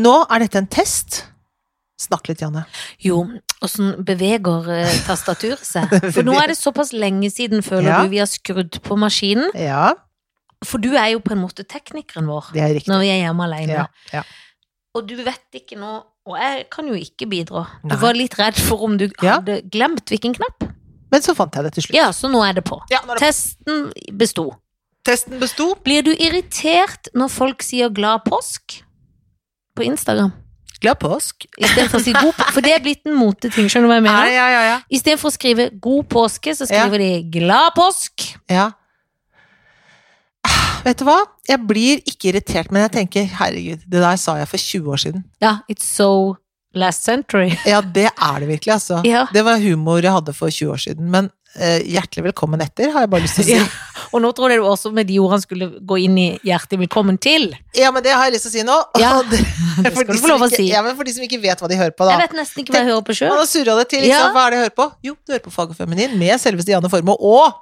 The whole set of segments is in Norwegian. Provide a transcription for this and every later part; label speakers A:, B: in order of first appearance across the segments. A: Nå er dette en test. Snakk litt, Janne.
B: Jo, åssen beveger eh, tastaturet seg? For nå er det såpass lenge siden, føler
A: Ja.
B: du, vi har skrudd på maskinen.
A: Ja,
B: For du er jo på en måte teknikeren vår
A: det er riktig.
B: når vi er hjemme alene.
A: Ja, ja.
B: Og du vet ikke nå Og jeg kan jo ikke bidra. Du
A: Nei.
B: var litt redd for om du
A: Ja.
B: hadde glemt hvilken knapp.
A: Men så fant jeg det til slutt.
B: Ja, så nå er det på.
A: Ja, når det-
B: Testen besto.
A: Testen besto.
B: Blir du irritert når folk sier 'glad påsk' på Instagram?
A: Glad påsk.
B: Istedenfor å si 'god påske'? For det er blitt en moteting, skjønner du hva jeg
A: Ja,
B: mener?
A: ja, ja. ja.
B: Istedenfor å skrive 'god påske', så skriver de 'glad påsk'.
A: ja. Ah, Vet du hva? Jeg blir ikke irritert, men jeg tenker herregud, det der sa jeg for 20 år siden.
B: Ja, it's so last century.
A: Ja, det er det virkelig, altså.
B: Ja.
A: Det var humor jeg hadde for 20 år siden. Men eh, hjertelig velkommen etter, har jeg bare lyst til å si.
B: Ja. Og nå trodde jeg det var også med de ordene skulle gå inn i hjertet. Velkommen til.
A: Ja, men det har jeg lyst til å si nå.
B: Ja,
A: Og det-
B: det
A: for
B: skal du
A: de
B: få
A: som
B: lov å
A: ikke-
B: si.
A: Ja, men for de som ikke vet hva de hører på, da.
B: Jeg vet nesten ikke hva jeg hører
A: Man
B: på sjøl.
A: har surra det til, ikke
B: Ja.
A: sant? Hva er det jeg hører på? Jo, du hører på Fag og Feminin med selveste Janne Formoe og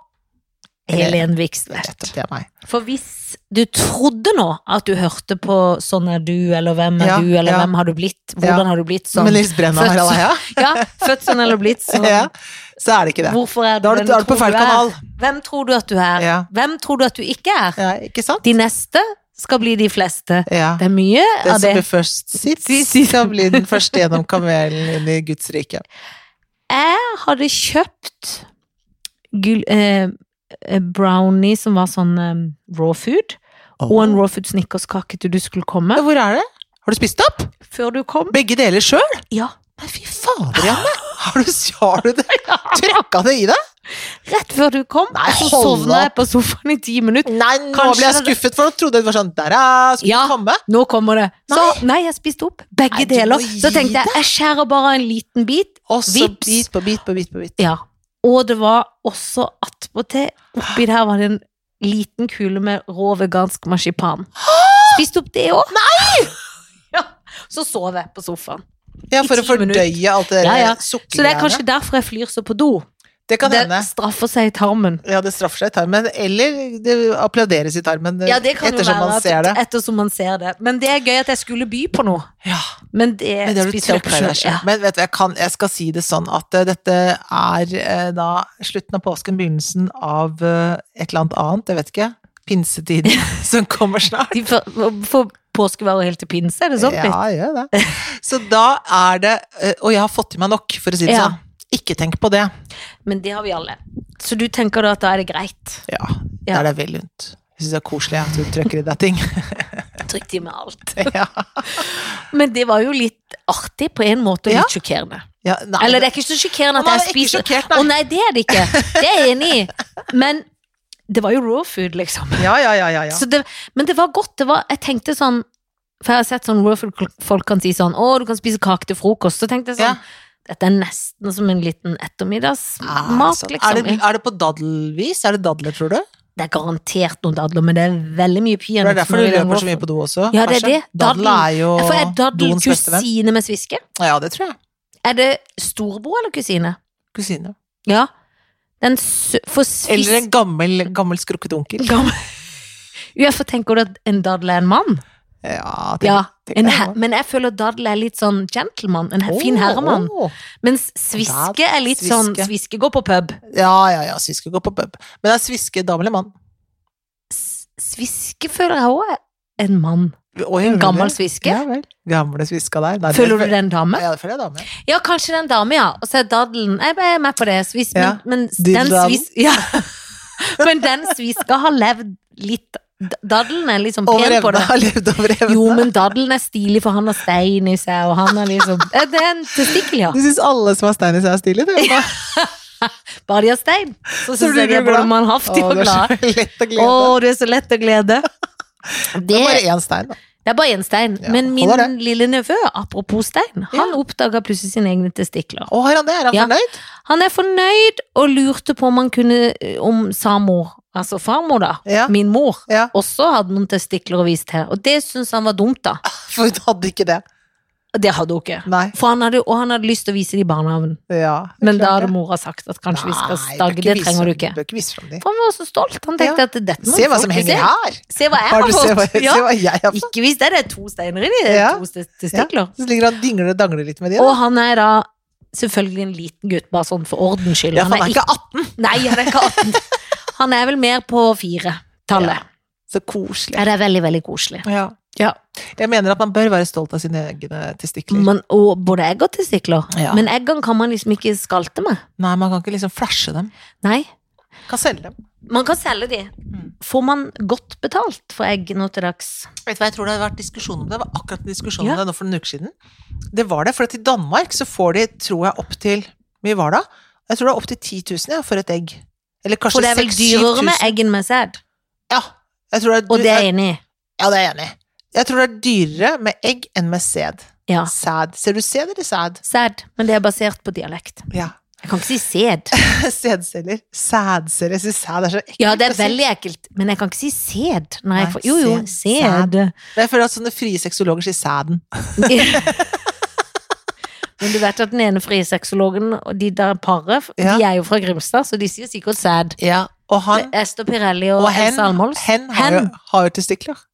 B: Helen
A: Nettopp,
B: Vikstvedt.
A: det er meg.
B: For hvis du trodde nå at du hørte på 'Sånn er du', eller 'Hvem er
A: Ja,
B: du', eller
A: ja.
B: 'Hvem har du blitt',
A: Ja.
B: hvordan har du blitt
A: Med
B: sånn?
A: Nils Brenna og
B: Født-
A: Harald Eia?
B: Ja, født sånn eller blitt sånn.
A: Ja. Så er det ikke det.
B: Hvorfor er
A: Da er du,
B: hvem
A: da er du på
B: tror
A: feil
B: er?
A: kanal.
B: Hvem tror du at du er?
A: Ja.
B: Hvem tror du at du ikke er?
A: ja, ikke sant?
B: De neste skal bli de fleste.
A: Ja.
B: Det er mye
A: Den
B: av
A: som
B: det.
A: blir først sitt,
B: Si- si-
A: skal bli den første gjennom kamelen inn i Guds rike.
B: Jeg hadde kjøpt gull, eh, eh, brownie som var sånn eh, raw food, og en raw food snickerskake til du skulle komme.
A: Ja, Hvor er det? Har du spist opp?
B: Før du kom.
A: Begge deler sjøl?
B: Ja.
A: Nei, fy fader, Janne! Har du, har du det? Trøkka det i deg?
B: Rett før du kom.
A: Nei,
B: så
A: hold
B: sovna
A: opp.
B: jeg på sofaen i ti minutter.
A: Nei, nå
B: Kanskje
A: ble jeg
B: det-
A: skuffet, for nå trodde jeg det var sånn Der er skulle
B: Ja.
A: du komme.
B: Nå kommer det. Så, nei, jeg spiste opp begge
A: Nei, du må
B: deler. Så
A: gi
B: tenkte jeg, jeg skjærer bare en liten bit,
A: Og så
B: Vips.
A: bit på bit på bit på bit.
B: Ja. Og det var også attpåtil Oppi der var det en liten kule med rå vegansk marsipan. Spiste opp det òg. Nei! Ja. Så sov jeg på sofaen.
A: Ja,
B: I
A: for å
B: ti
A: fordøye alt det
B: Ja, ja.
A: der
B: Så det er
A: sukkergreiene.
B: kanskje derfor jeg flyr så på do.
A: Det kan
B: Det
A: hende.
B: straffer seg i tarmen.
A: Ja, det straffer seg i tarmen. Eller det applauderes i tarmen
B: Ja, det kan jo
A: ettersom
B: være
A: man
B: at-
A: ser det.
B: Ettersom man ser det. Men det er gøy at jeg skulle by på noe.
A: Ja,
B: Men det,
A: men det har du
B: spiser jeg opp
A: trøkket deg
B: selv,
A: selv.
B: ja.
A: Men vet du, jeg, kan, jeg skal si det sånn at eh, dette er eh, da slutten av påsken, begynnelsen av eh, et eller annet annet, jeg vet ikke. Pinsetiden som kommer snart.
B: De får, får påskevarer helt til pinse, er det sånn?
A: Ja, gjør det. Så da er det eh, Og jeg har fått i meg nok, for å si det
B: Ja.
A: sånn. Ikke tenk på det.
B: Men det har vi alle. Så du tenker da at da er det greit?
A: Ja, det
B: Ja.
A: er deg vel lunt. Jeg syns det er koselig at du trøkker i deg ting.
B: Trykk de med alt.
A: ja.
B: Men det var jo litt artig på en måte, og
A: Ja.
B: litt sjokkerende.
A: Ja, nei,
B: Eller det er ikke så sjokkerende at
A: Man er
B: jeg
A: ikke
B: spiser
A: sjokkert,
B: Å
A: nei.
B: nei, det er det ikke. Det er jeg enig i. Men det var jo raw food, liksom.
A: Ja, ja, ja, ja, ja.
B: Så det, men det var godt. Det var, jeg tenkte sånn For jeg har sett sånn raw food folk kan si sånn Å, du kan spise kake til frokost. Så tenkte jeg
A: Ja.
B: sånn Dette er nesten som en liten
A: Er det,
B: ettermiddagsmat,
A: sånn? er,
B: liksom.
A: det, er det på daddelvis? Er det dadler, tror du?
B: Det er garantert noen dadler, men det er veldig mye
A: Det
B: peanøttsmør
A: er derfor du
B: i den
A: løper
B: raw
A: så mye
B: food.
A: på do også.
B: Ja, det er
A: kanskje?
B: det.
A: Dadel er jo
B: Ja, For er daddel
A: doens beste venn.
B: kusine med sviske?
A: Ja, det tror jeg.
B: Er det storbror eller kusine?
A: Kusine.
B: Ja. Den sø... For svis...
A: Eller en gammel, gammel skrukket onkel.
B: Gammel. Ja, for tenker du at en daddel er en mann?
A: Ja, tenk,
B: Ja.
A: tenk
B: En
A: deg
B: he
A: det.
B: men jeg føler at daddel er litt sånn gentleman. En he
A: Å,
B: fin herremann.
A: å.
B: Mens sviske
A: Daddel,
B: er litt sånn
A: sviske.
B: Sviske går på pub.
A: Ja, ja, ja, sviske går på pub. Men det er sviske dame eller mann.
B: S- Sviske føler jeg òg er en mann.
A: Oi, gjør du
B: Gammel
A: det?
B: sviske.
A: Ja vel. Gamle sviska der. Nei,
B: Føler du det er en dame?
A: Ja, det føler jeg dame.
B: Ja, kanskje den dame, ja. Og så er daddelen Jeg er med på det. Svis,
A: Ja.
B: Men, men den
A: Diddelen.
B: svis... Ja. Men den sviska har levd litt d- Daddelen er liksom
A: Over
B: pen på
A: evne.
B: det.
A: Har levd over evne.
B: Jo, men daddelen er stilig, for han har stein i seg, og han er liksom Eh, Det er en testikkel, ja.
A: Du syns alle som har stein i seg, er stilige, du?
B: Bare de har stein,
A: Så
B: så syns
A: blir
B: jeg de er
A: du glad.
B: både mannhaftige
A: Å,
B: og
A: det er
B: glade.
A: så lett å glede.
B: Å, du er så lett å glede. Det,
A: Det er bare én stein, da.
B: det er bare én stein.
A: Ja,
B: Men min
A: holder
B: lille nevø, apropos stein, han oppdaga plutselig sine egne testikler.
A: Å, har han det? Er han
B: Ja.
A: fornøyd?
B: Han er fornøyd og lurte på om han kunne eh, Om samor, altså farmor, da,
A: Ja.
B: min mor,
A: Ja. Ah.
B: også hadde noen testikler å vise til. Og det syns han var dumt, da.
A: For hun hadde ikke det.
B: Det hadde hun ikke.
A: Nei.
B: For han hadde, og han hadde lyst til å vise det i barnehagen.
A: Ja, det er
B: Men
A: klart
B: da hadde
A: det.
B: mora sagt at kanskje vi skal
A: Nei,
B: stagge.
A: bør
B: Det
A: ikke vise-
B: trenger du ikke.
A: Bør ikke vise fram de.
B: For han var så stolt. Han tenkte
A: Ja.
B: at dette må
A: Se hva
B: folk
A: som
B: se.
A: henger her!
B: Se hva jeg
A: Har
B: har
A: du se hva,
B: fått.
A: se
B: Ja.
A: hva jeg har fått?
B: Ikke hvis det, det er to steiner inni det.
A: Ja.
B: To st- testikler.
A: Så ligger han dingler og dangler litt med de.
B: Og
A: da.
B: han er da selvfølgelig en liten gutt, bare sånn for ordens skyld.
A: Ja, for han er ikke 18,
B: ikke- Nei, han er ikke 18. Han er vel mer på fire-tallet.
A: så koselig.
B: Ja, det er veldig, veldig koselig.
A: Ja.
B: Ja.
A: Jeg mener at man bør være stolt av sine egne testikler.
B: Man, og både egg og testikler.
A: Ja.
B: Men eggene kan man liksom ikke skalte med.
A: Nei, man kan ikke liksom flashe dem.
B: Nei.
A: Kan selge dem.
B: Man kan selge de.
A: Mm.
B: Får man godt betalt for egg nå til dags?
A: Vet du hva, jeg tror det hadde vært diskusjon om det. Det var akkurat en diskusjon om
B: Ja.
A: det nå for noen uker siden. Det var det, for at i Danmark så får de, tror jeg, opp til hvor Mye var det? Jeg tror det er opp til 10 000 ja, for et egg. Eller
B: For
A: kanskje
B: det er vel
A: 6-7 000.
B: dyrere med egg enn med sæd.
A: Ja, jeg tror det er,
B: Og det er jeg
A: jeg,
B: enig i.
A: ja, det er jeg enig i. Jeg tror det er dyrere med egg enn med sæd.
B: Ja.
A: Sæd. Ser du sæd eller sæd?
B: Sæd. Men det er basert på dialekt.
A: Ja.
B: Jeg kan ikke si sæd.
A: Sædceller. Sædceller. Jeg syns sæd er så ekkelt.
B: Ja, det er
A: å si.
B: veldig ekkelt. Men jeg kan ikke si sæd. Nei,
A: Nei,
B: for, jo, jo,
A: sæd.
B: sæd.
A: Men Jeg føler at sånne frie sexologer sier sæden.
B: Men du vet at den ene frie sexologen og de der paret, de
A: Ja.
B: er jo fra Grimstad, så de sier sikkert sæd.
A: Ja. Og han
B: Esther Pirelli og,
A: og hen,
B: Else Almås.
A: hen, har, jo,
B: Hen.
A: har jo testikler.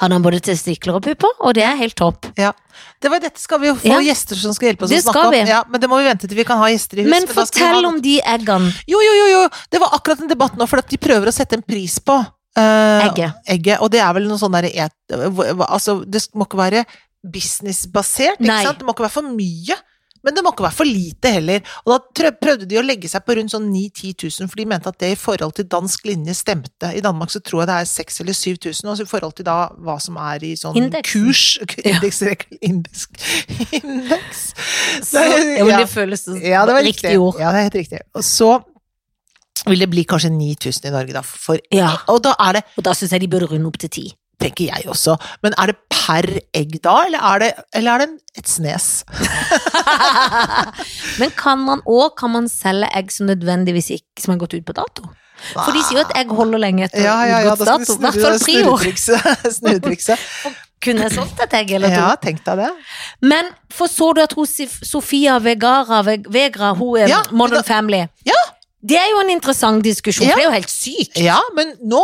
B: Han har både testikler og pupper, og det er helt topp.
A: Det var dette skal vi jo få
B: Ja.
A: gjester som skal hjelpe oss
B: Det
A: å snakke
B: skal
A: om.
B: vi.
A: Ja, men det må vi vente til vi kan ha gjester i hus.
B: Men
A: da skal vi ha
B: fortell
A: noe-
B: om de eggene.
A: Jo, jo, jo, jo! Det var akkurat en debatt nå, for at de prøver å sette en pris på eh,
B: Egget.
A: egget. Og det er vel noe sånn derre et... hva- hva- Altså, det må ikke være businessbasert, ikke
B: Nei.
A: sant? Det må ikke være for mye. Men det må ikke være for lite heller. Og da trø- prøvde de å legge seg på rundt sånn 9-10 000, for de mente at det i forhold til dansk linje stemte. I Danmark så tror jeg det er 6 eller 7 000, altså i forhold til da hva som er i sånn
B: Indeksen.
A: kurs
B: Ja.
A: Indeks, indeks, indeks.
B: Så,
A: Nei,
B: ja, men
A: ja.
B: det føles som
A: Ja, det var riktig.
B: riktig ord.
A: Ja, det er helt riktig. Og så vil det bli kanskje 9000 i Norge, da. For,
B: Ja,
A: og da er det,
B: og da syns jeg de burde runde opp til ti.
A: tenker jeg også, men er det per egg da, eller er det, eller er det en, et snes?
B: Men kan man òg kan man selge egg som nødvendigvis ikke som har gått ut på dato? For de sier jo at egg holder lenge etter
A: ja, ja, ja,
B: utgått
A: da skal
B: dato. I hvert fall
A: du snurre
B: prioer.
A: snurretrikset. snurretrikset.
B: Kunne jeg solgt et egg eller to?
A: Ja, tenk deg det.
B: Men for så du at hun Sif- Sofia Vegara, Ve- Vegra, hun er
A: Ja,
B: Modern
A: da-
B: Family
A: Ja.
B: Det er jo en interessant diskusjon,
A: Ja.
B: for det er jo helt sykt.
A: Ja, men nå,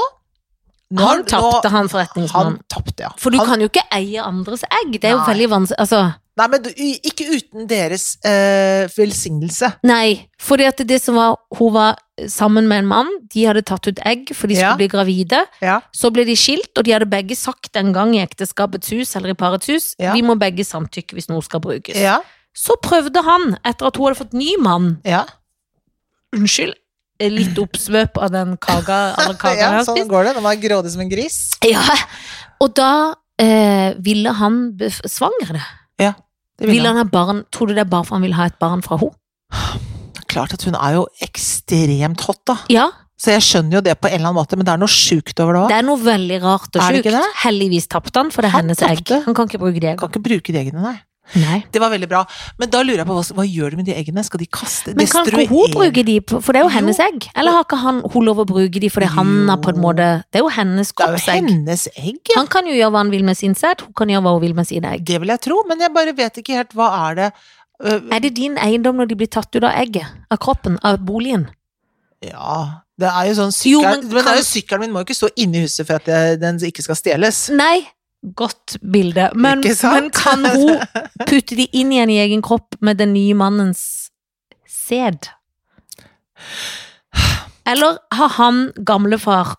A: nå
B: Han tapte,
A: nå-
B: han
A: Han
B: forretningsmannen.
A: tapte, ja.
B: For du
A: Han-
B: kan jo ikke eie andres egg. Det er jo
A: Nei.
B: veldig vanskelig altså,
A: Nei, men du, ikke uten deres eh, velsignelse.
B: Nei, for det, det som var Hun var sammen med en mann, de hadde tatt ut egg for de skulle
A: Ja.
B: bli gravide.
A: Ja.
B: Så ble de skilt, og de hadde begge sagt en gang i ekteskapets hus eller i parets hus
A: Ja.
B: vi må begge samtykke hvis noe skal brukes.
A: Ja,
B: Så prøvde han, etter at hun hadde fått ny mann,
A: ja.
B: Unnskyld. Litt oppsvøp av den kaka, alle kaka jeg
A: ja
B: har
A: sånn
B: spist.
A: går det. De er grådig som en gris.
B: Ja. Og da eh, ville han bef- svangre det.
A: Det
B: Ville han ha barn? Tror du det er bare for han vil ha et barn fra henne?
A: Klart at hun er jo ekstremt hot, da.
B: Ja.
A: Så jeg skjønner jo det på en eller annen måte, men det er noe sjukt over det òg.
B: Det er noe veldig rart og
A: Er det
B: sjukt.
A: ikke
B: Heldigvis tapte han, for det er
A: Han
B: hennes egg.
A: tapte.
B: Han kan ikke bruke det.
A: Kan ikke bruke de eggene, nei.
B: Nei.
A: Det var veldig bra. Men da lurer jeg på hva, hva gjør de med de eggene? Skal de kaste?
B: Men kan ikke
A: Destruere?
B: hun bruke de, på- for det er jo
A: Jo.
B: hennes egg? Eller har ikke han, hun lov å bruke de fordi han er på en
A: Jo.
B: måte Det er jo hennes
A: Det er jo
B: kroppsegg.
A: hennes egg, ja.
B: Han kan jo gjøre hva han vil med sin sæd, hun kan gjøre hva hun vil med sine egg.
A: Det vil jeg tro, men jeg bare vet ikke helt hva er det Øh,
B: Er det din eiendom når de blir tatt ut av egget? Av kroppen? Av boligen?
A: Ja, det er jo sånn
B: Jo,
A: sykkelen men,
B: men
A: det er
B: kan-
A: jo sykkelen min må jo ikke stå inne i huset for at jeg, den ikke skal stjeles.
B: Nei, godt bilde. Men,
A: Ikke sant?
B: men kan hun putte de inn igjen i egen kropp med den nye mannens sæd? Eller har han gamlefar,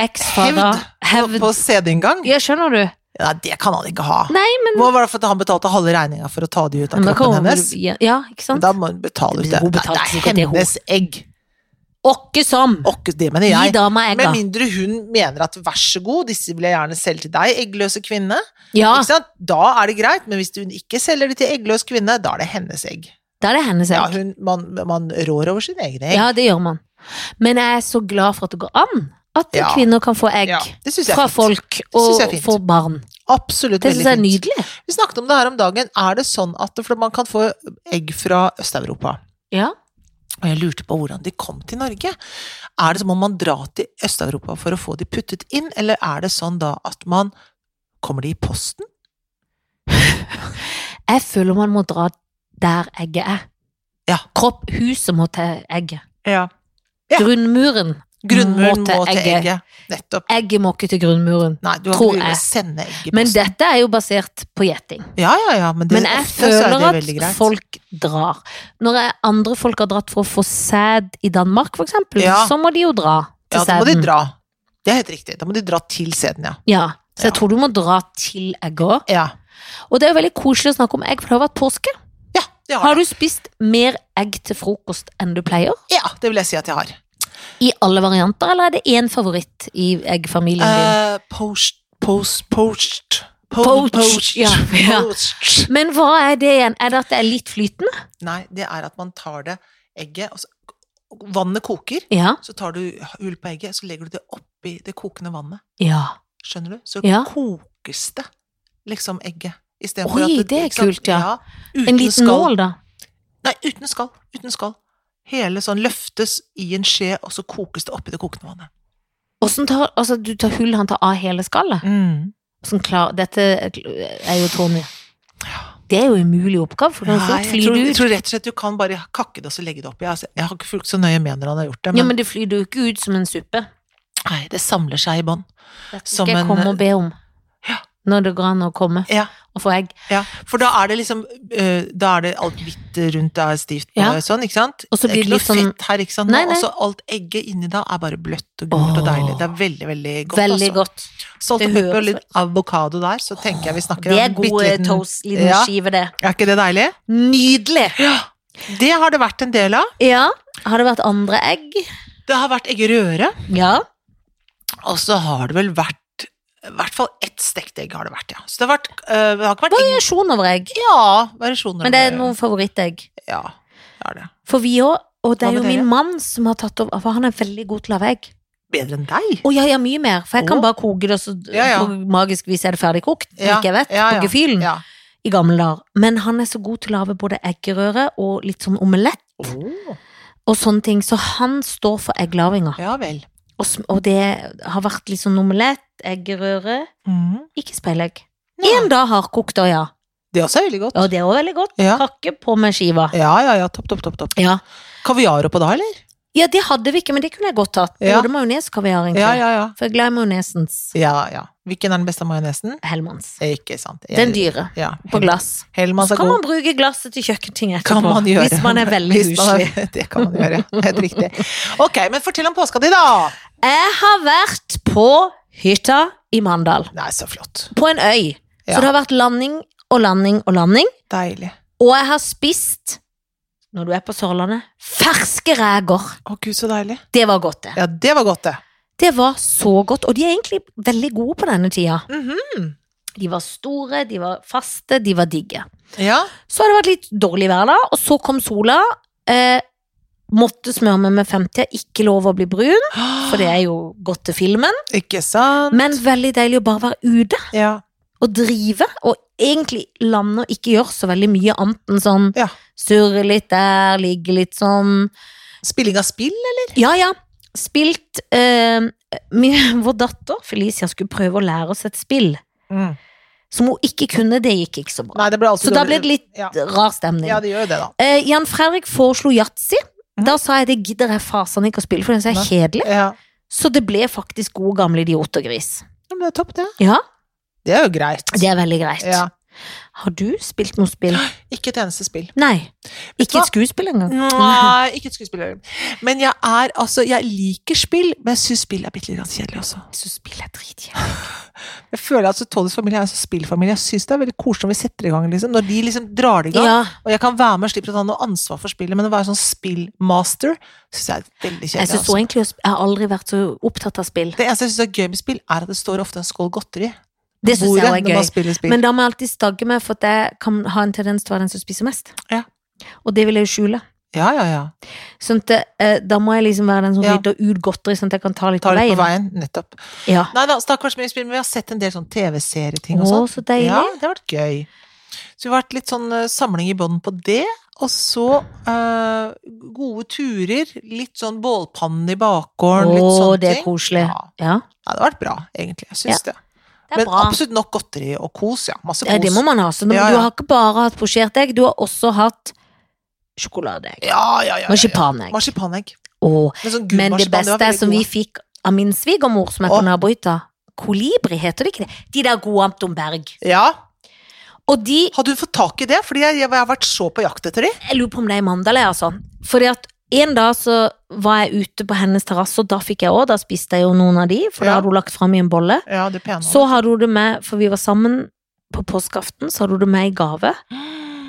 B: eksfader,
A: På,
B: hevd
A: på CD-inngang?
B: Ja, skjønner du?
A: Nei, det kan han ikke ha.
B: Nei, men
A: Hva var det for at han betalte halve regninga for å ta de ut av
B: Men da kan
A: kroppen
B: hun-
A: hennes?
B: Ja, ikke sant?
A: Da må hun betale ut det.
B: Hun
A: Det
B: betalte
A: er
B: sikkert det, hun.
A: hennes egg.
B: Åkke som!
A: Åkke, det mener
B: Gi
A: jeg.
B: dama egga.
A: Med mindre hun mener at vær så god, disse vil jeg gjerne selge til deg, eggløse kvinne.
B: Ja,
A: Ikke sant? Da er det greit, men hvis hun ikke selger det til eggløs kvinne, da er det hennes egg.
B: da er det hennes
A: Ja,
B: egg.
A: hun, man, man rår over sine egne egg.
B: Ja, det gjør man. Men jeg er så glad for at det går an at
A: Ja.
B: kvinner kan få egg
A: Ja, det syns jeg
B: fra
A: er fint.
B: folk
A: synes jeg er
B: og
A: fint.
B: få barn.
A: Absolutt
B: Det syns jeg er
A: veldig fint.
B: nydelig.
A: Vi snakket om det her om dagen. Er det sånn at for man kan få egg fra Øst-Europa?
B: Ja.
A: Og jeg lurte på hvordan de kom til Norge. Er det som om man drar til Øst-Europa for å få de puttet inn, eller er det sånn da at man Kommer de i posten?
B: Jeg føler man må dra der egget er.
A: Ja.
B: Kropp, huset må til egget.
A: Ja. Ja.
B: Grunnmuren.
A: Grunnmuren
B: Må
A: må
B: til
A: til
B: egget.
A: egget. Nettopp.
B: Egget må ikke til grunnmuren.
A: Nei, du har
B: Tror
A: ikke mulighet til
B: jeg.
A: å sende egg i
B: Men
A: posten.
B: dette er jo basert på gjetting.
A: Ja, ja, ja, men, det,
B: Men jeg
A: ofte så er
B: føler
A: det veldig
B: at
A: greit.
B: folk drar. Når jeg, andre folk har dratt for å få sæd i Danmark, for eksempel,
A: Ja.
B: så må de jo dra til
A: Ja, da må de
B: sæden.
A: dra. Det er helt riktig. Da må de dra til sæden, ja.
B: Ja, så jeg
A: Ja.
B: tror du må dra til egget òg.
A: Ja,
B: Og det er jo veldig koselig å snakke om egg, for det har vært påske.
A: ja det har
B: Har
A: jeg.
B: du spist mer egg til frokost enn du pleier?
A: Ja, det vil jeg si at jeg har.
B: I alle varianter, eller er det én favoritt i eggfamilien din?
A: Eh, post, post, post. Po-
B: Poached,
A: poached,
B: ja, ja.
A: poached.
B: Men hva er det igjen? Er det at det er litt flytende?
A: Nei, det er at man tar det egget, og så vannet koker,
B: Ja.
A: så tar du hull på egget, så legger du det oppi det kokende vannet.
B: Ja.
A: Skjønner du? Så
B: Ja.
A: kokes det liksom egget. i stedet
B: Oi,
A: for at
B: det er
A: ikke sant?
B: kult, ja.
A: uten
B: En liten
A: skall.
B: nål, da?
A: Nei, uten skall. Uten skall. Hele sånn løftes i en skje, og så kokes det oppi det kokende vannet.
B: Åssen tar Altså, du tar hull, han tar av hele skallet?
A: Mm.
B: Sånn klar Dette er jo Tony. Det er jo en umulig oppgave, for du kan
A: Nei,
B: fort
A: jeg,
B: fly
A: tror, jeg
B: det ut.
A: tror rett og slett du kan bare kakke det og så legge det oppi. Altså, jeg har ikke fulgt så nøye med når han har gjort det, men,
B: Ja, men det flyr jo ikke ut som en suppe.
A: nei, det samler seg i bånn.
B: Dette
A: Som
B: skal jeg
A: en-
B: komme og be om.
A: Ja.
B: Når det går an å komme
A: Ja,
B: og få egg.
A: ja. For da er det liksom eh, Da er det alt hvitt rundt, da er stivt på
B: Ja.
A: sånn, ikke sant?
B: Og så blir det
A: ikke
B: litt sånn-
A: fett her, ikke sant? nå,
B: Nei, nei.
A: Og så alt egget inni da er bare bløtt og gult og
B: Åh.
A: deilig. Det er veldig, veldig godt.
B: Veldig
A: altså.
B: godt.
A: Salt
B: Det
A: og pepper og
B: høres
A: litt avokado der, så tenker jeg vi snakker
B: Det er
A: bitte
B: gode
A: liten-
B: toast, liten
A: Ja.
B: skive, det.
A: Er ikke det deilig?
B: Nydelig!
A: Ja. Det har det vært en del av.
B: Ja. Har det vært andre egg?
A: Det har vært eggerøre,
B: Ja.
A: og så har det vel vært i hvert fall ett stekt egg har det vært, ja. Så det har, vært, øh, det har ikke vært egg
B: Variasjon over egg.
A: Ja, variasjoner.
B: Men det er noen favorittegg.
A: Ja, det er det.
B: For vi òg. Og det
A: Hva
B: er jo
A: med
B: min
A: dere?
B: mann som har tatt over, for han er veldig god til å lage egg.
A: Bedre enn deg.
B: Å ja, ja, mye mer. For jeg kan
A: Å.
B: bare koke det, og så
A: Ja, ja.
B: på magisk vis er det ferdig kokt.
A: Ja,
B: Ikke jeg vet,
A: ja, ja.
B: på gefühlen
A: Ja.
B: i gamle dager. Men han er så god til å lage både eggerøre og litt sånn omelett
A: Åh.
B: og sånne ting, så han står for egglavinga.
A: ja vel.
B: Og, sm- og det har vært litt sånn omelett, eggerøre,
A: Mm.
B: ikke speilegg.
A: Ja.
B: En dag hardkokt, og ja.
A: Det også er veldig godt.
B: Og det er også veldig godt.
A: Ja.
B: Kakke på med skiva.
A: Ja, ja, ja. Topp, topp, topp. topp.
B: Ja.
A: Kaviar oppå da, eller?
B: ja, det hadde vi ikke, men det kunne jeg godt tatt.
A: Ja.
B: Både majones og kaviar, egentlig.
A: Ja, ja, ja.
B: For jeg er glad i majonesens
A: Ja, ja. Hvilken er den beste majonesen?
B: Hellmanns.
A: Ikke sant. Jeg-
B: Den dyre.
A: Ja.
B: På glass.
A: Hellmann's
B: Så
A: er
B: kan
A: god.
B: man bruke glasset til kjøkkenting etterpå.
A: Kan man gjøre.
B: Hvis man er veldig
A: Hvis man er-
B: huslig.
A: Det kan man gjøre, ja. Helt riktig. Ok, men fortell om påska di, da.
B: Jeg har vært på hytta i Mandal.
A: Nei, så flott.
B: På en øy.
A: Ja.
B: Så det har vært landing og landing og landing.
A: Deilig.
B: Og jeg har spist, når du er på Sørlandet, ferske reker.
A: Å gud, så deilig.
B: Det var godt, det.
A: Ja, det var godt, det.
B: Det var så godt. Og de er egentlig veldig gode på denne tida.
A: Mhm.
B: De var store, de var faste, de var digge.
A: Ja.
B: Så har det vært litt dårlig vær da, og så kom sola. Eh, måtte smøre meg med 50, ikke lov å bli brun, for det er jo godt til filmen.
A: Ikke sant?
B: Men veldig deilig å bare være ute
A: Ja.
B: og drive, og egentlig lande og ikke gjøre så veldig mye annet enn sånn
A: Ja.
B: surre litt der, ligge litt sånn.
A: Spilling av spill?
B: Ja, ja. Spilt eh, min, Vår datter Felicia skulle prøve å lære oss et spill.
A: Mm.
B: Som hun ikke kunne, det gikk ikke så bra.
A: Nei, det ble alltid
B: så da
A: dårlig.
B: ble det litt
A: ja.
B: rar stemning.
A: ja, det gjør jo det, da.
B: Eh, Jan Fredrik foreslo yatzy.
A: Mhm.
B: Da sa jeg det gidder jeg fasen ikke å spille, for den er
A: Nei.
B: kjedelig.
A: Ja.
B: Så det ble faktisk god gamle idiot og gris.
A: Ja, Men det er topp, det.
B: Ja,
A: Det er jo greit.
B: det er veldig greit.
A: Ja.
B: Har du spilt noe spill?
A: Ikke et eneste spill.
B: Nei. Ikke
A: hva?
B: et skuespill engang.
A: Nei, ikke et skuespiller. Men jeg er altså Jeg liker spill, men jeg syns spill er bitte litt grann kjedelig også.
B: Så spill er dritkjedelig.
A: Jeg føler at Tollys familie er en sånn spillfamilie. Jeg syns det er veldig koselig når vi setter i gang, liksom. Når de liksom drar det i gang.
B: Ja,
A: Og jeg kan være med og slippe å ta noe ansvar for spillet, men å være sånn spillmaster syns jeg er veldig kjedelig.
B: jeg synes
A: Altså.
B: også egentlig å sp- Jeg har aldri vært så opptatt av spill.
A: Det eneste jeg syns er gøy med spill, er at det står ofte en skål godteri på
B: Det syns jeg
A: bordet
B: også er
A: når man
B: gøy.
A: spiller spill.
B: Men da må jeg alltid stagge meg, for at jeg kan ha en tendens til å være den som spiser mest.
A: Ja.
B: Og det vil jeg jo skjule.
A: Ja, ja, ja.
B: Sånn at eh, da må jeg liksom være den som
A: Ja.
B: rydder ut godteri, sånn at jeg kan ta litt
A: Ta
B: på
A: litt på
B: veien.
A: veien. Nettopp.
B: Ja.
A: Nei da, stakkars mye spill, men vi har sett en del sånn TV-serieting og
B: Å,
A: sånn.
B: så deilig.
A: Ja, det har vært gøy. Så vi har vært litt sånn eh, samling i bånn på det. Og så eh, gode turer, litt sånn bålpanne i bakgården, litt
B: Å,
A: sånne
B: det er
A: ting.
B: koselig.
A: Ja.
B: Ja.
A: ja, det har vært bra, egentlig. Jeg syns det.
B: Det er
A: Men
B: bra.
A: absolutt nok godteri og kos, ja. Masse kos.
B: Ja, det må man ha. Så du,
A: Ja,
B: du
A: ja.
B: har ikke bare hatt posjert egg, du har også hatt sjokoladeegg.
A: Ja, ja, ja. ja, ja.
B: Marsipanegg.
A: Marsipanegg.
B: Åh,
A: Men, sånn
B: Men det beste som vi fikk av min svigermor, som er på
A: Åh.
B: nabohytta, kolibri heter det ikke det? De der gode Anton Berg.
A: Ja.
B: Og de
A: Hadde hun fått tak i det? Fordi jeg, jeg, har vært så på jakt etter de.
B: Jeg lurer på om det er i Mandal, jeg, altså. Fordi at en dag så var jeg ute på hennes terrasse, og da fikk jeg òg. Da spiste jeg jo noen av de, for
A: Ja.
B: da hadde hun lagt fram i en bolle.
A: Ja, det pene.
B: Så hadde hun det med, for vi var sammen på påskeaften, så hadde hun det med i gave.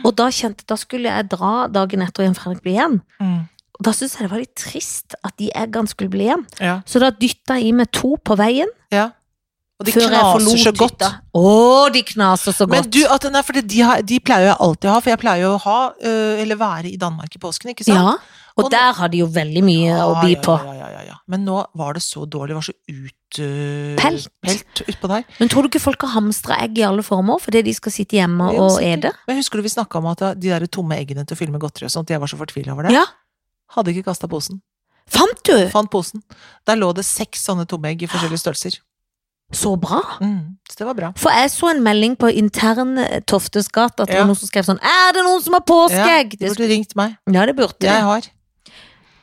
B: Og da kjente da skulle jeg dra dagen etter igjen Fredrik ble igjen.
A: Mm.
B: Og da syntes jeg det var litt trist at de eggene skulle bli igjen.
A: Ja.
B: Så da dytta jeg i meg to på veien.
A: ja. Og de
B: før jeg
A: knaser
B: forlot
A: så godt.
B: hytta. Å, de knaser så
A: Men
B: godt.
A: du, at, nei, for de, har, de pleier jo jeg alltid å ha, for jeg pleier jo å ha, øh, eller være i Danmark i påsken, ikke sant?
B: ja, og
A: Og nå-
B: der har de jo veldig mye å by
A: ja,
B: på.
A: Ja, ja, ja, ja. Men nå var det så dårlig, det var så ut... øh,
B: Pelt.
A: Pelt utpå der.
B: Men tror du ikke folk har hamstra egg i alle former fordi de skal sitte hjemme
A: Jo,
B: og
A: sikkert.
B: ede?
A: Men husker du vi snakka om at de der tomme eggene til å fylle med godteri og sånt, jeg var så fortvila over det?
B: Ja.
A: Hadde ikke kasta posen.
B: Fant du?
A: Fant posen. Der lå det seks sånne tomme egg i forskjellige størrelser.
B: Så bra.
A: Mm, så det var bra.
B: For jeg så en melding på intern eh, Toftes gate at det
A: Ja.
B: var noen som skrev sånn Er det noen som har påskeegg?
A: Du
B: Ja,
A: burde ringt meg.
B: ja, det burde
A: Jeg
B: du.
A: har.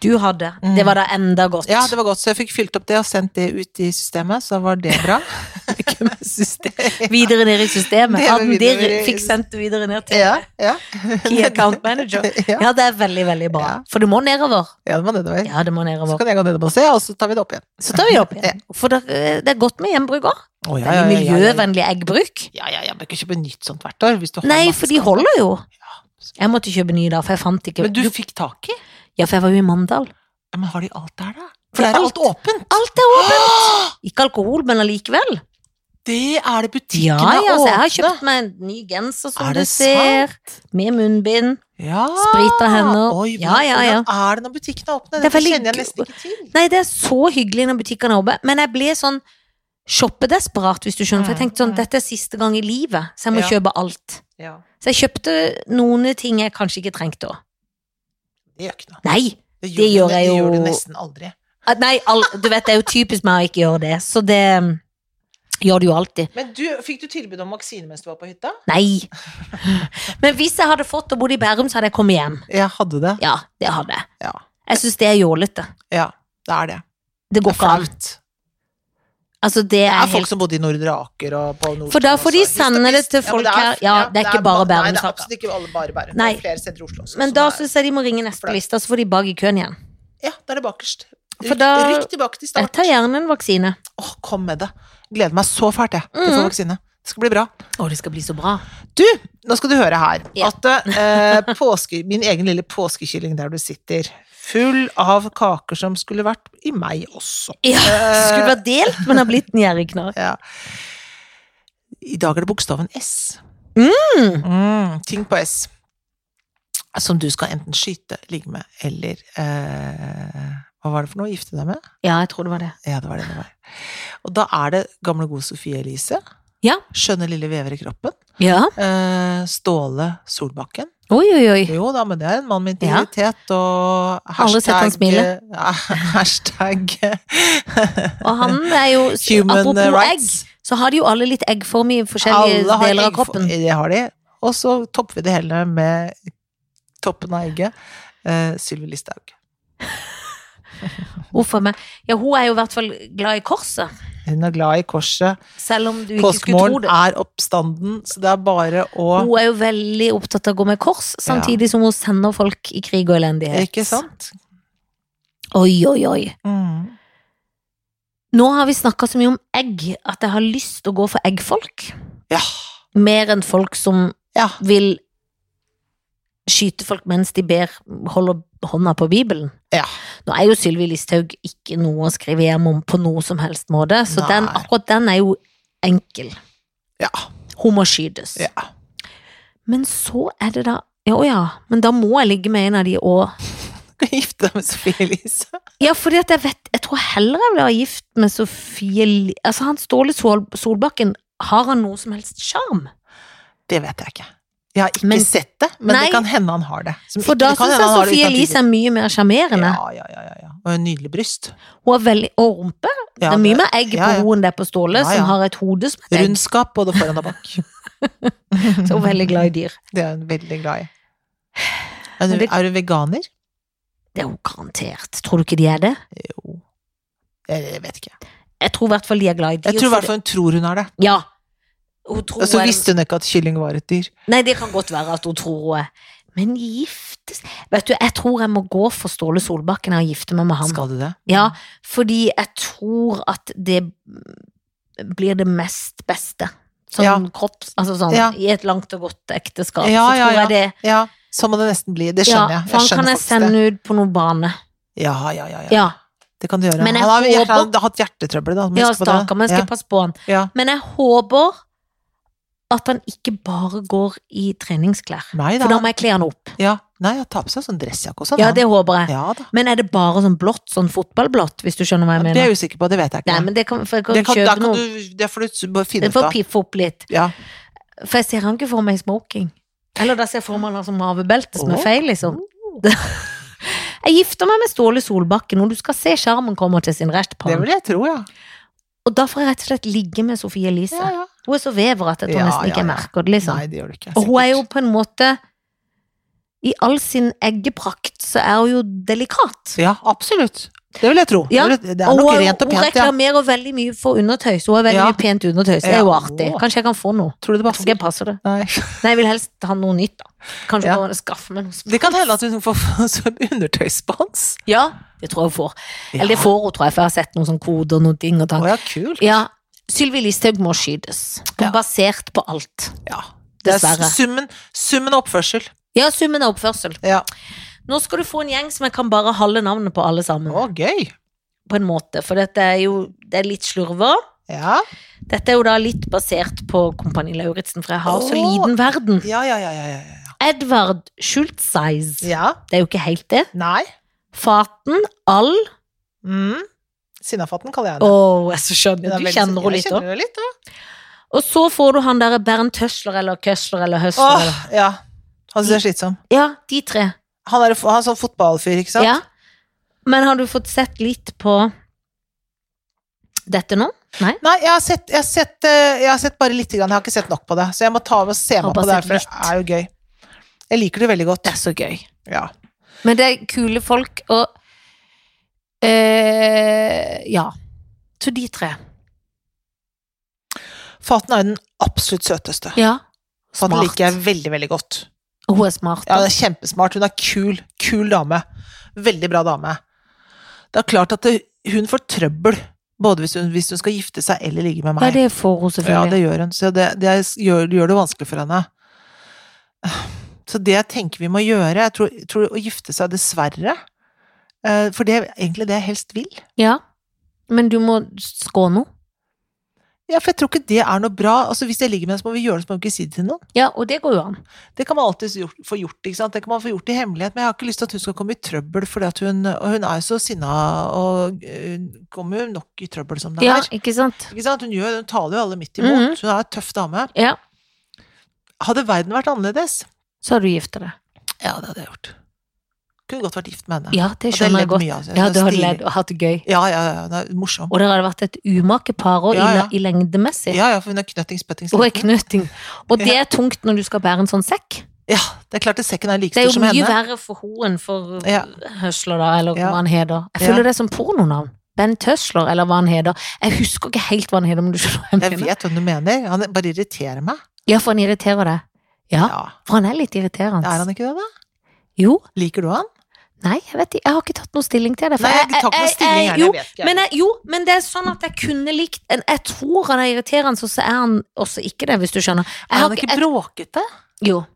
B: Du hadde.
A: Mm.
B: Det var da enda godt.
A: Ja, det var godt, så jeg fikk fylt opp det og sendt det ut i systemet, så var det bra. Ikke med system.
B: Videre ned i systemet.
A: Det var
B: At den
A: videre
B: der
A: i-
B: fikk sendt det videre ned til
A: Ja, ja.
B: Key Account Manager.
A: Ja,
B: Ja, det er veldig, veldig bra.
A: Ja.
B: For du må nedover.
A: ja det var nedover.
B: Ja, det må
A: Så
B: nedover.
A: kan jeg gå nedover og se, og så tar vi det opp igjen.
B: Så tar vi det opp igjen. For det, eh, det er godt med gjenbruk òg.
A: Å, ja, ja,
B: Veldig
A: ja, ja, ja.
B: miljøvennlig eggbruk.
A: Ja, ja, ja, men ikke kjøpe nytt sånt hvert år. Hvis du har
B: Nei,
A: masse
B: for de
A: skap.
B: holder jo.
A: Ja.
B: Jeg måtte kjøpe ny da, for jeg fant ikke
A: Men du fikk tak i?
B: Ja, for jeg var jo i Mandal.
A: Ja, men har de alt der, da?
B: Det
A: For der
B: er
A: er alt åpent.
B: Alt er åpent!
A: Åh,
B: Ikke alkohol, men allikevel.
A: Det er det
B: Ja,
A: butikkene
B: ja, så jeg har
A: åpne.
B: kjøpt meg en ny genser, som
A: Er
B: du
A: det
B: ser. Med munnbind.
A: Ja.
B: Sprit av hender.
A: Oi,
B: Ja,
A: hvordan-
B: ja, ja.
A: hvordan Er det når butikkene er åpne?
B: Det er
A: Dette
B: veldig
A: kjenner jeg
B: gu-
A: nesten ikke til.
B: Nei, det er så hyggelig når butikkene er åpne, men jeg ble sånn shoppedesperat, hvis du skjønner. For jeg tenkte
A: Mm,
B: sånn,
A: mm.
B: dette er siste gang i livet, så jeg må
A: Ja.
B: kjøpe alt.
A: Ja.
B: Så jeg kjøpte noen ting jeg kanskje ikke trengte òg.
A: Det gjør ikke noe.
B: Nei!
A: Det
B: Det
A: du-
B: gjør jeg
A: Det gjør du
B: jo-
A: nesten aldri.
B: Ah, Nei, al- du vet, det er jo typisk meg å ikke gjøre det, så det mm, gjør du jo alltid.
A: Men du, fikk du tilbud om vaksine mens du var på hytta?
B: Nei. Men hvis jeg hadde fått og bodd i Bærum, så hadde jeg kommet hjem.
A: Jeg hadde det.
B: Ja, det hadde jeg.
A: Ja.
B: Jeg syns det er jålete.
A: Ja, det er det.
B: Det
A: Det
B: går
A: er
B: ikke an.
A: flaut.
B: Altså, det
A: Det
B: er
A: er folk
B: helt
A: som bodde i Nordre Aker og på Nord...
B: For da får de
A: også. Hvis
B: sende
A: hvis-
B: det til
A: men
B: folk
A: er-
B: her. Ja, det er ikke bare
A: nei,
B: Bærum
A: Det er
B: saker.
A: absolutt ikke alle bare Bærum.
B: Nei.
A: Det er flere steder i Oslo også.
B: Men
A: som
B: da
A: er-
B: syns jeg de må ringe neste liste, så får de bak i køen igjen.
A: Ja, da er det bakerst.
B: For da-
A: Rykk tilbake til
B: Jeg
A: start.
B: tar gjerne en vaksine.
A: Åh, kom med det. Gleder meg så fælt, jeg, til å få
B: Mhm.
A: vaksine. Det skal bli bra.
B: Å, det skal bli så bra.
A: Du, nå skal du høre her
B: Ja.
A: at eh, påske, min egen lille påskekylling der du sitter, full av kaker som skulle vært i meg også.
B: Ja,
A: Eh,
B: Skulle vært delt, men har blitt en gjerrigknarr.
A: ja. I dag er det bokstaven S.
B: Mm.
A: Mm, ting på S. Som du skal enten skyte, ligge med, eller eh, Hva var det for noe? Gifte deg med?
B: Ja, jeg tror det var det.
A: Ja, det var det det var. Og da er det gamle, gode Sofie Elise.
B: Ja.
A: Skjønne lille vever i kroppen.
B: Ja.
A: Eh, Ståle Solbakken.
B: Oi, oi, oi.
A: Jo da, men det er en mann med
B: Ja.
A: integritet og hashtag
B: Alle sett han smile.
A: Ja, hashtag
B: Og han er jo
A: human
B: Apropos egg,
A: rights.
B: så har de jo alle litt eggform i forskjellige
A: Alle har
B: deler av
A: egg-
B: kroppen.
A: Det har de. Og så topper vi det hele med toppen av egget. Uh, Sylvi Listhaug.
B: Uff a meg. Ja, hun er jo i hvert fall glad i korset.
A: Hun er glad i korset.
B: Selv om du ikke skulle tro
A: Påskemorgen
B: det.
A: er oppstanden, så det er bare å
B: Hun er jo veldig opptatt av å gå med kors, samtidig som hun sender folk i krig og elendighet.
A: Ikke sant?
B: Oi, oi, oi.
A: Mm.
B: Nå har vi snakka så mye om egg at jeg har lyst til å gå for eggfolk.
A: Ja.
B: Mer enn folk som
A: ja.
B: vil skyte folk mens de ber holder hånda på Bibelen.
A: Ja.
B: Nå er jo Sylvi Listhaug ikke noe å skrive hjem om på noe som helst måte, så
A: Nei.
B: den, akkurat den er jo enkel.
A: Ja.
B: Hun må skytes.
A: ja.
B: Men så er det da ja, Å ja, men da må jeg ligge med en av de og
A: Du kan gifte deg med Sofie Elise.
B: Ja, fordi at jeg vet Jeg tror heller jeg vil være gift med Sofie Li- Altså, han Ståle Sol Solbakken, har han noe som helst sjarm?
A: Det vet jeg ikke. Jeg har ikke
B: Men-
A: sett det, men
B: Nei.
A: det kan hende han har det. Som
B: For
A: ikke-
B: da
A: det kan
B: syns
A: hende
B: jeg
A: han har det
B: Sophie
A: uten at de
B: Elise er mye mer
A: vet.
B: sjarmerende.
A: Ja, ja, ja, ja, ja. Og en nydelig bryst.
B: Hun har veldig Og rumpe.
A: Ja,
B: det er mye mer egg
A: ja, ja.
B: på henne enn det er på Ståle,
A: Ja, ja.
B: som har et hode som et egg.
A: Rundskap både foran og bak.
B: Så hun er veldig glad i dyr.
A: Det er hun veldig glad i. Er
B: Men
A: du,
B: det-
A: er du veganer?
B: Det er hun garantert. Tror du ikke de er det?
A: Jo Jeg jeg vet ikke.
B: Jeg tror i hvert fall de er glad i dyr.
A: Jeg tror i hvert
B: for det-
A: fall Altså, hun tror hun er det.
B: Ja. Hun tror
A: Og så
B: en-
A: visste hun ikke at kylling var et dyr.
B: Nei, det kan godt være at hun tror hun er Men giftes Vet du, jeg tror jeg må gå for Ståle Solbakken og gifte meg med ham.
A: Skal du det?
B: Ja, fordi jeg tror at det blir det mest beste. Sånn
A: Ja.
B: kropp Altså sånn
A: Ja.
B: i et langt og godt ekteskap.
A: Ja,
B: så
A: ja,
B: tror
A: ja.
B: jeg det.
A: Ja, sånn må det nesten bli. Det
B: Ja,
A: skjønner jeg.
B: for
A: jeg
B: han kan
A: skjønner
B: jeg
A: faktisk det.
B: sende ut på noen bane.
A: Ja, ja, ja, ja.
B: Ja.
A: Det kan du gjøre.
B: Men jeg
A: han har vel-
B: håper-
A: han har hatt hjertetrøbbel, da.
B: Ja,
A: husk på det.
B: stakkar, men jeg
A: Ja,
B: skal passe på han.
A: ja.
B: Men jeg håper at han ikke bare går i treningsklær.
A: Nei da.
B: For da må jeg kle han opp.
A: Ja. Nei, han tar på seg sånn dressjakke og sånn.
B: Ja,
A: han.
B: det håper jeg.
A: ja da.
B: Men er det bare sånn blått, sånn fotballblått, hvis du skjønner hva jeg
A: Det
B: mener?
A: er jeg usikker på, det vet jeg ikke.
B: Nei, men det kan, for jeg kan,
A: det, kan, da
B: kjøpe
A: kan
B: noe.
A: du, det får du bare finne
B: Jeg
A: ut
B: får
A: av.
B: piffe opp litt.
A: Ja.
B: For jeg ser han ikke for meg i smoking. Eller da ser jeg for meg han har sånn mavebelte som er
A: Åh.
B: feil, liksom. Jeg gifter meg med Ståle Solbakken, og du skal se sjarmen kommer til sin rett.
A: Det
B: Pam.
A: vil jeg tro, ja.
B: Og da får jeg rett og slett ligge med Sofie Elise.
A: ja, ja.
B: Hun er så vever at jeg tror
A: Ja,
B: nesten ikke
A: ja,
B: jeg
A: ja.
B: merker det, liksom.
A: Nei, det gjør du ikke.
B: Og hun er jo
A: sikkert.
B: på en måte I all sin eggeprakt så er hun jo delikat.
A: Ja, absolutt. Det vil jeg tro.
B: Ja,
A: Det vil- det er
B: Og
A: nok
B: hun,
A: rent og
B: hun
A: pent, ja.
B: reklamerer veldig mye for undertøy, så hun er veldig
A: Ja.
B: mye pent undertøy. Så det er jo
A: Ja.
B: artig. Kanskje jeg kan få noe.
A: Tror du det
B: Jeg tror ikke
A: passer?
B: jeg passer det.
A: Nei.
B: Nei, jeg vil helst ha noe nytt, da. Kanskje
A: Ja.
B: bare skaffe meg noe som
A: Det kan hende at hun får får undertøysspons.
B: Ja, det tror jeg hun får.
A: Ja.
B: Eller det får hun, tror jeg, for jeg har sett noen sånn koder og noen ting og
A: Å
B: tang.
A: ja, kult.
B: Ja, Sylvi Listhaug må skytes.
A: Ja.
B: Basert på alt.
A: Ja. Det er
B: Dessverre.
A: summen, summen og oppførsel.
B: Ja, summen av oppførsel.
A: Ja.
B: Nå skal du få en gjeng som jeg kan bare halve navnet på, alle sammen.
A: Å, gøy.
B: På en måte, for dette er jo det er litt slurver.
A: Ja.
B: Dette er jo da litt basert på Kompani Lauritzen, for jeg har så
A: Åh.
B: liten verden.
A: Ja, ja, ja, ja, ja, ja.
B: Edvard Schultzeis.
A: Ja.
B: Det er jo ikke helt det.
A: Nei.
B: Faten Al.
A: Mm. Sinnafatten kaller jeg
B: Å,
A: det.
B: jeg så skjønner. Du kjenner henne litt òg.
A: òg? litt, da.
B: Og så får du han derre Bernt Høsler eller Køsler eller Høsler.
A: Åh,
B: Eller.
A: ja. Han synes det er slitsom.
B: Ja, de tre.
A: Han er, han er sånn fotballfyr, ikke sant?
B: Ja. Men har du fått sett litt på dette nå?
A: Nei, jeg har, sett, jeg, har sett, eh, jeg har sett bare litt, grann. jeg har ikke sett nok på det. Så jeg må ta og se meg
B: bare
A: på det, her,
B: sett
A: for det er jo gøy. Jeg liker det veldig godt.
B: Det er så gøy.
A: Ja.
B: Men det er kule folk og eh, Ja. Så de tre.
A: Faten er jo den absolutt søteste.
B: Ja.
A: Faten
B: Smart.
A: liker jeg veldig, veldig godt.
B: Og Hun er smart.
A: Ja,
B: da.
A: hun er kjempesmart. Hun er kul. Kul dame. Veldig bra dame. Det er klart at det, hun får trøbbel, både hvis hun, hvis hun skal gifte seg eller ligge med meg.
B: Ja, det får hun
A: Ja,
B: selvfølgelig.
A: det gjør hun. Så det, det er- gjør, gjør det vanskelig for henne. Så det jeg tenker vi må gjøre, jeg tror, tror å gifte seg dessverre eh, For det er egentlig det jeg helst vil.
B: Ja. Men du må skåne henne.
A: Ja, for jeg tror ikke det er noe bra. Altså, hvis jeg ligger med henne, så må vi gjøre det, så må vi ikke si det til noen.
B: Ja, og det går jo an.
A: Det kan man alltid gjort, få gjort, ikke sant. Det kan man få gjort i hemmelighet, men jeg har ikke lyst til at hun skal komme i trøbbel, fordi at hun Og hun er jo så sinna, og eh, hun kommer jo nok i trøbbel som det
B: Ja,
A: er.
B: ikke sant?
A: Ikke sant? Hun, gjør, hun taler jo alle midt imot.
B: Mhm.
A: Hun er en tøff dame.
B: Ja.
A: Hadde verden vært annerledes,
B: Så har du gifta deg.
A: Ja, det hadde jeg gjort. Kunne godt vært gift med henne.
B: Ja, det
A: Hadde jeg
B: skjønner
A: ledd
B: jeg godt.
A: mye av det.
B: Ja,
A: Det
B: du
A: er
B: hadde
A: stilig.
B: ledd og hatt det gøy.
A: Ja, ja, ja, hun er morsom.
B: Og dere hadde vært et umake par også,
A: Ja, ja.
B: i, i lengdemessig.
A: Ja, ja, for hun er knøttings pøttings
B: Og er
A: liten.
B: knøtting. Og det er tungt når du skal bære en sånn sekk.
A: Ja, det er klart at sekken er like
B: Det er
A: stor
B: jo
A: som
B: mye
A: henne.
B: verre for ho enn for
A: Ja.
B: Høsler, da, eller
A: Ja.
B: hva han heter. Jeg
A: Ja.
B: føler det er som pornonavn. Bent Høsler, eller hva han heter. Jeg husker ikke helt hva han heter, men du skjønner hva
A: Jeg
B: jeg mener.
A: vet hva du mener. Han bare irriterer meg.
B: Ja, for han irriterer deg. Ja,
A: Ja.
B: for han er litt irriterende.
A: Er han ikke det, da?
B: Jo.
A: Liker du han?
B: Nei, jeg vet ikke. Jeg har ikke tatt noen stilling til det. for
A: Nei,
B: jeg-
A: vi tar ikke
B: jeg-
A: noen stilling
B: jeg-
A: her,
B: jo,
A: det vet ikke
B: Men
A: jeg.
B: jeg, jo, men det er sånn at jeg kunne likt en, Jeg tror han er irriterende, og så er han også ikke det, hvis du skjønner. Jeg
A: Er
B: har
A: han
B: ikke-
A: ikke bråkete?
B: jeg- Jo.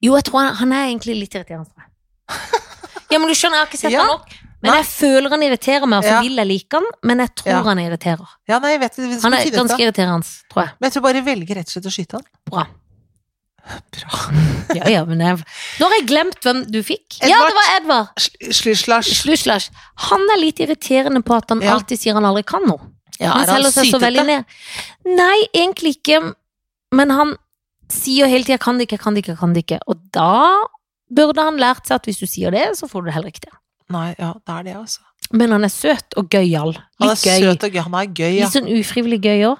B: Jo, jeg tror han, han er egentlig litt irriterende for meg. Ja, men du skjønner, jeg har ikke sett
A: Ja.
B: han nok. Men
A: Nei.
B: jeg føler han irriterer meg, og så
A: Ja.
B: vil jeg like han, men jeg tror
A: Ja.
B: han irriterer.
A: Ja, nei, jeg vet ikke. Vi skal
B: Han er
A: finne ut av.
B: ganske irriterende, tror jeg.
A: Men jeg tror bare jeg velger rett og slett å skyte han.
B: Bra.
A: Bra.
B: Ja, ja, men jeg, nå har jeg glemt hvem du fikk. Ja,
A: Edvard.
B: det var Edvard.
A: Slusj-lasj.
B: Slush-lash. Han er litt irriterende på at han
A: Ja.
B: alltid sier han aldri kan noe.
A: Ja,
B: han
A: er han
B: selger seg så
A: sytete?
B: veldig ned. Nei, egentlig ikke. Men han sier hele tida 'kan det ikke, kan det ikke, kan det ikke'. Og da burde han lært seg at hvis du sier det, så får du det heller ikke til.
A: Nei, ja, det er det, altså.
B: Men han er søt og gøyal.
A: Han er
B: Litt gøy.
A: søt og gøy. Han er gøy, ja.
B: Litt sånn ufrivillig gøy òg.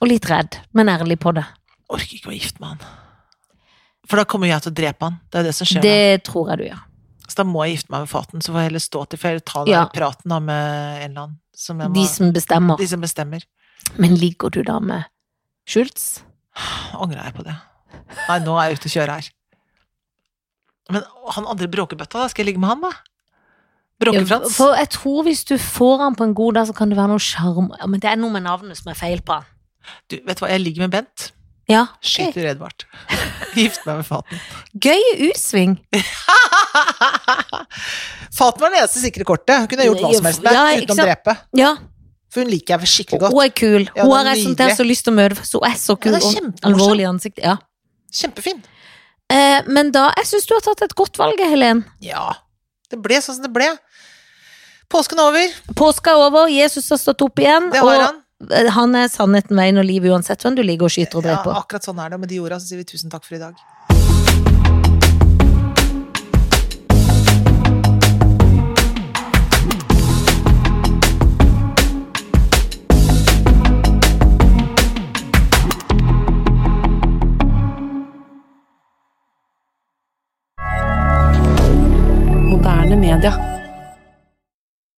B: Og litt redd, men ærlig på det.
A: Orker ikke å gifte meg med han. For da kommer jeg til å drepe han. Det er jo det som skjer. nå.
B: Det tror jeg du gjør.
A: Så da må jeg gifte meg med Faten, så får jeg heller stå til, for jeg vil ta den
B: Ja.
A: praten da med en eller annen. Som jeg må,
B: De som bestemmer.
A: de som bestemmer.
B: Men ligger du da med Schultz?
A: Angrer jeg på det. Nei, nå er jeg ute å kjøre her. Men han andre bråkebøtta, da? Skal jeg ligge med han, da? Bråkefrans?
B: For jeg tror hvis du får han på en god dag, så kan det være noe sjarm Ja, Men det er noe med navnet som er feil på han.
A: Du, vet du hva, jeg ligger med Bent.
B: Ja. ok.
A: Skyter Edvard. Gift meg med Faten.
B: Gøy utsving.
A: Faten var den eneste sikre kortet. Hun kunne jeg gjort hva som helst med,
B: Ja, ikke
A: utenom
B: sant?
A: drepe.
B: Ja.
A: For hun liker jeg vel skikkelig
B: Hun
A: godt.
B: er
A: Ja,
B: kul. hun
A: det er
B: har jeg sånn
A: nydelig.
B: til så lyst til å møte, for hun er så
A: Ja,
B: kul.
A: det er
B: og
A: kjempemorsom.
B: alvorlig i ansiktet. Ja.
A: Kjempefin.
B: Eh, men da Jeg syns du har tatt et godt valg, Helen.
A: Ja. Det ble sånn som det ble. Påsken er over.
B: Påska er over, Jesus har stått opp igjen.
A: Det har han.
B: Og eh, han er sannheten, veien og livet uansett hvem du ligger og skyter og
A: Ja,
B: dreper.
A: akkurat sånn er det. Og med de orda så sier vi tusen takk for i dag.
C: Moderne media.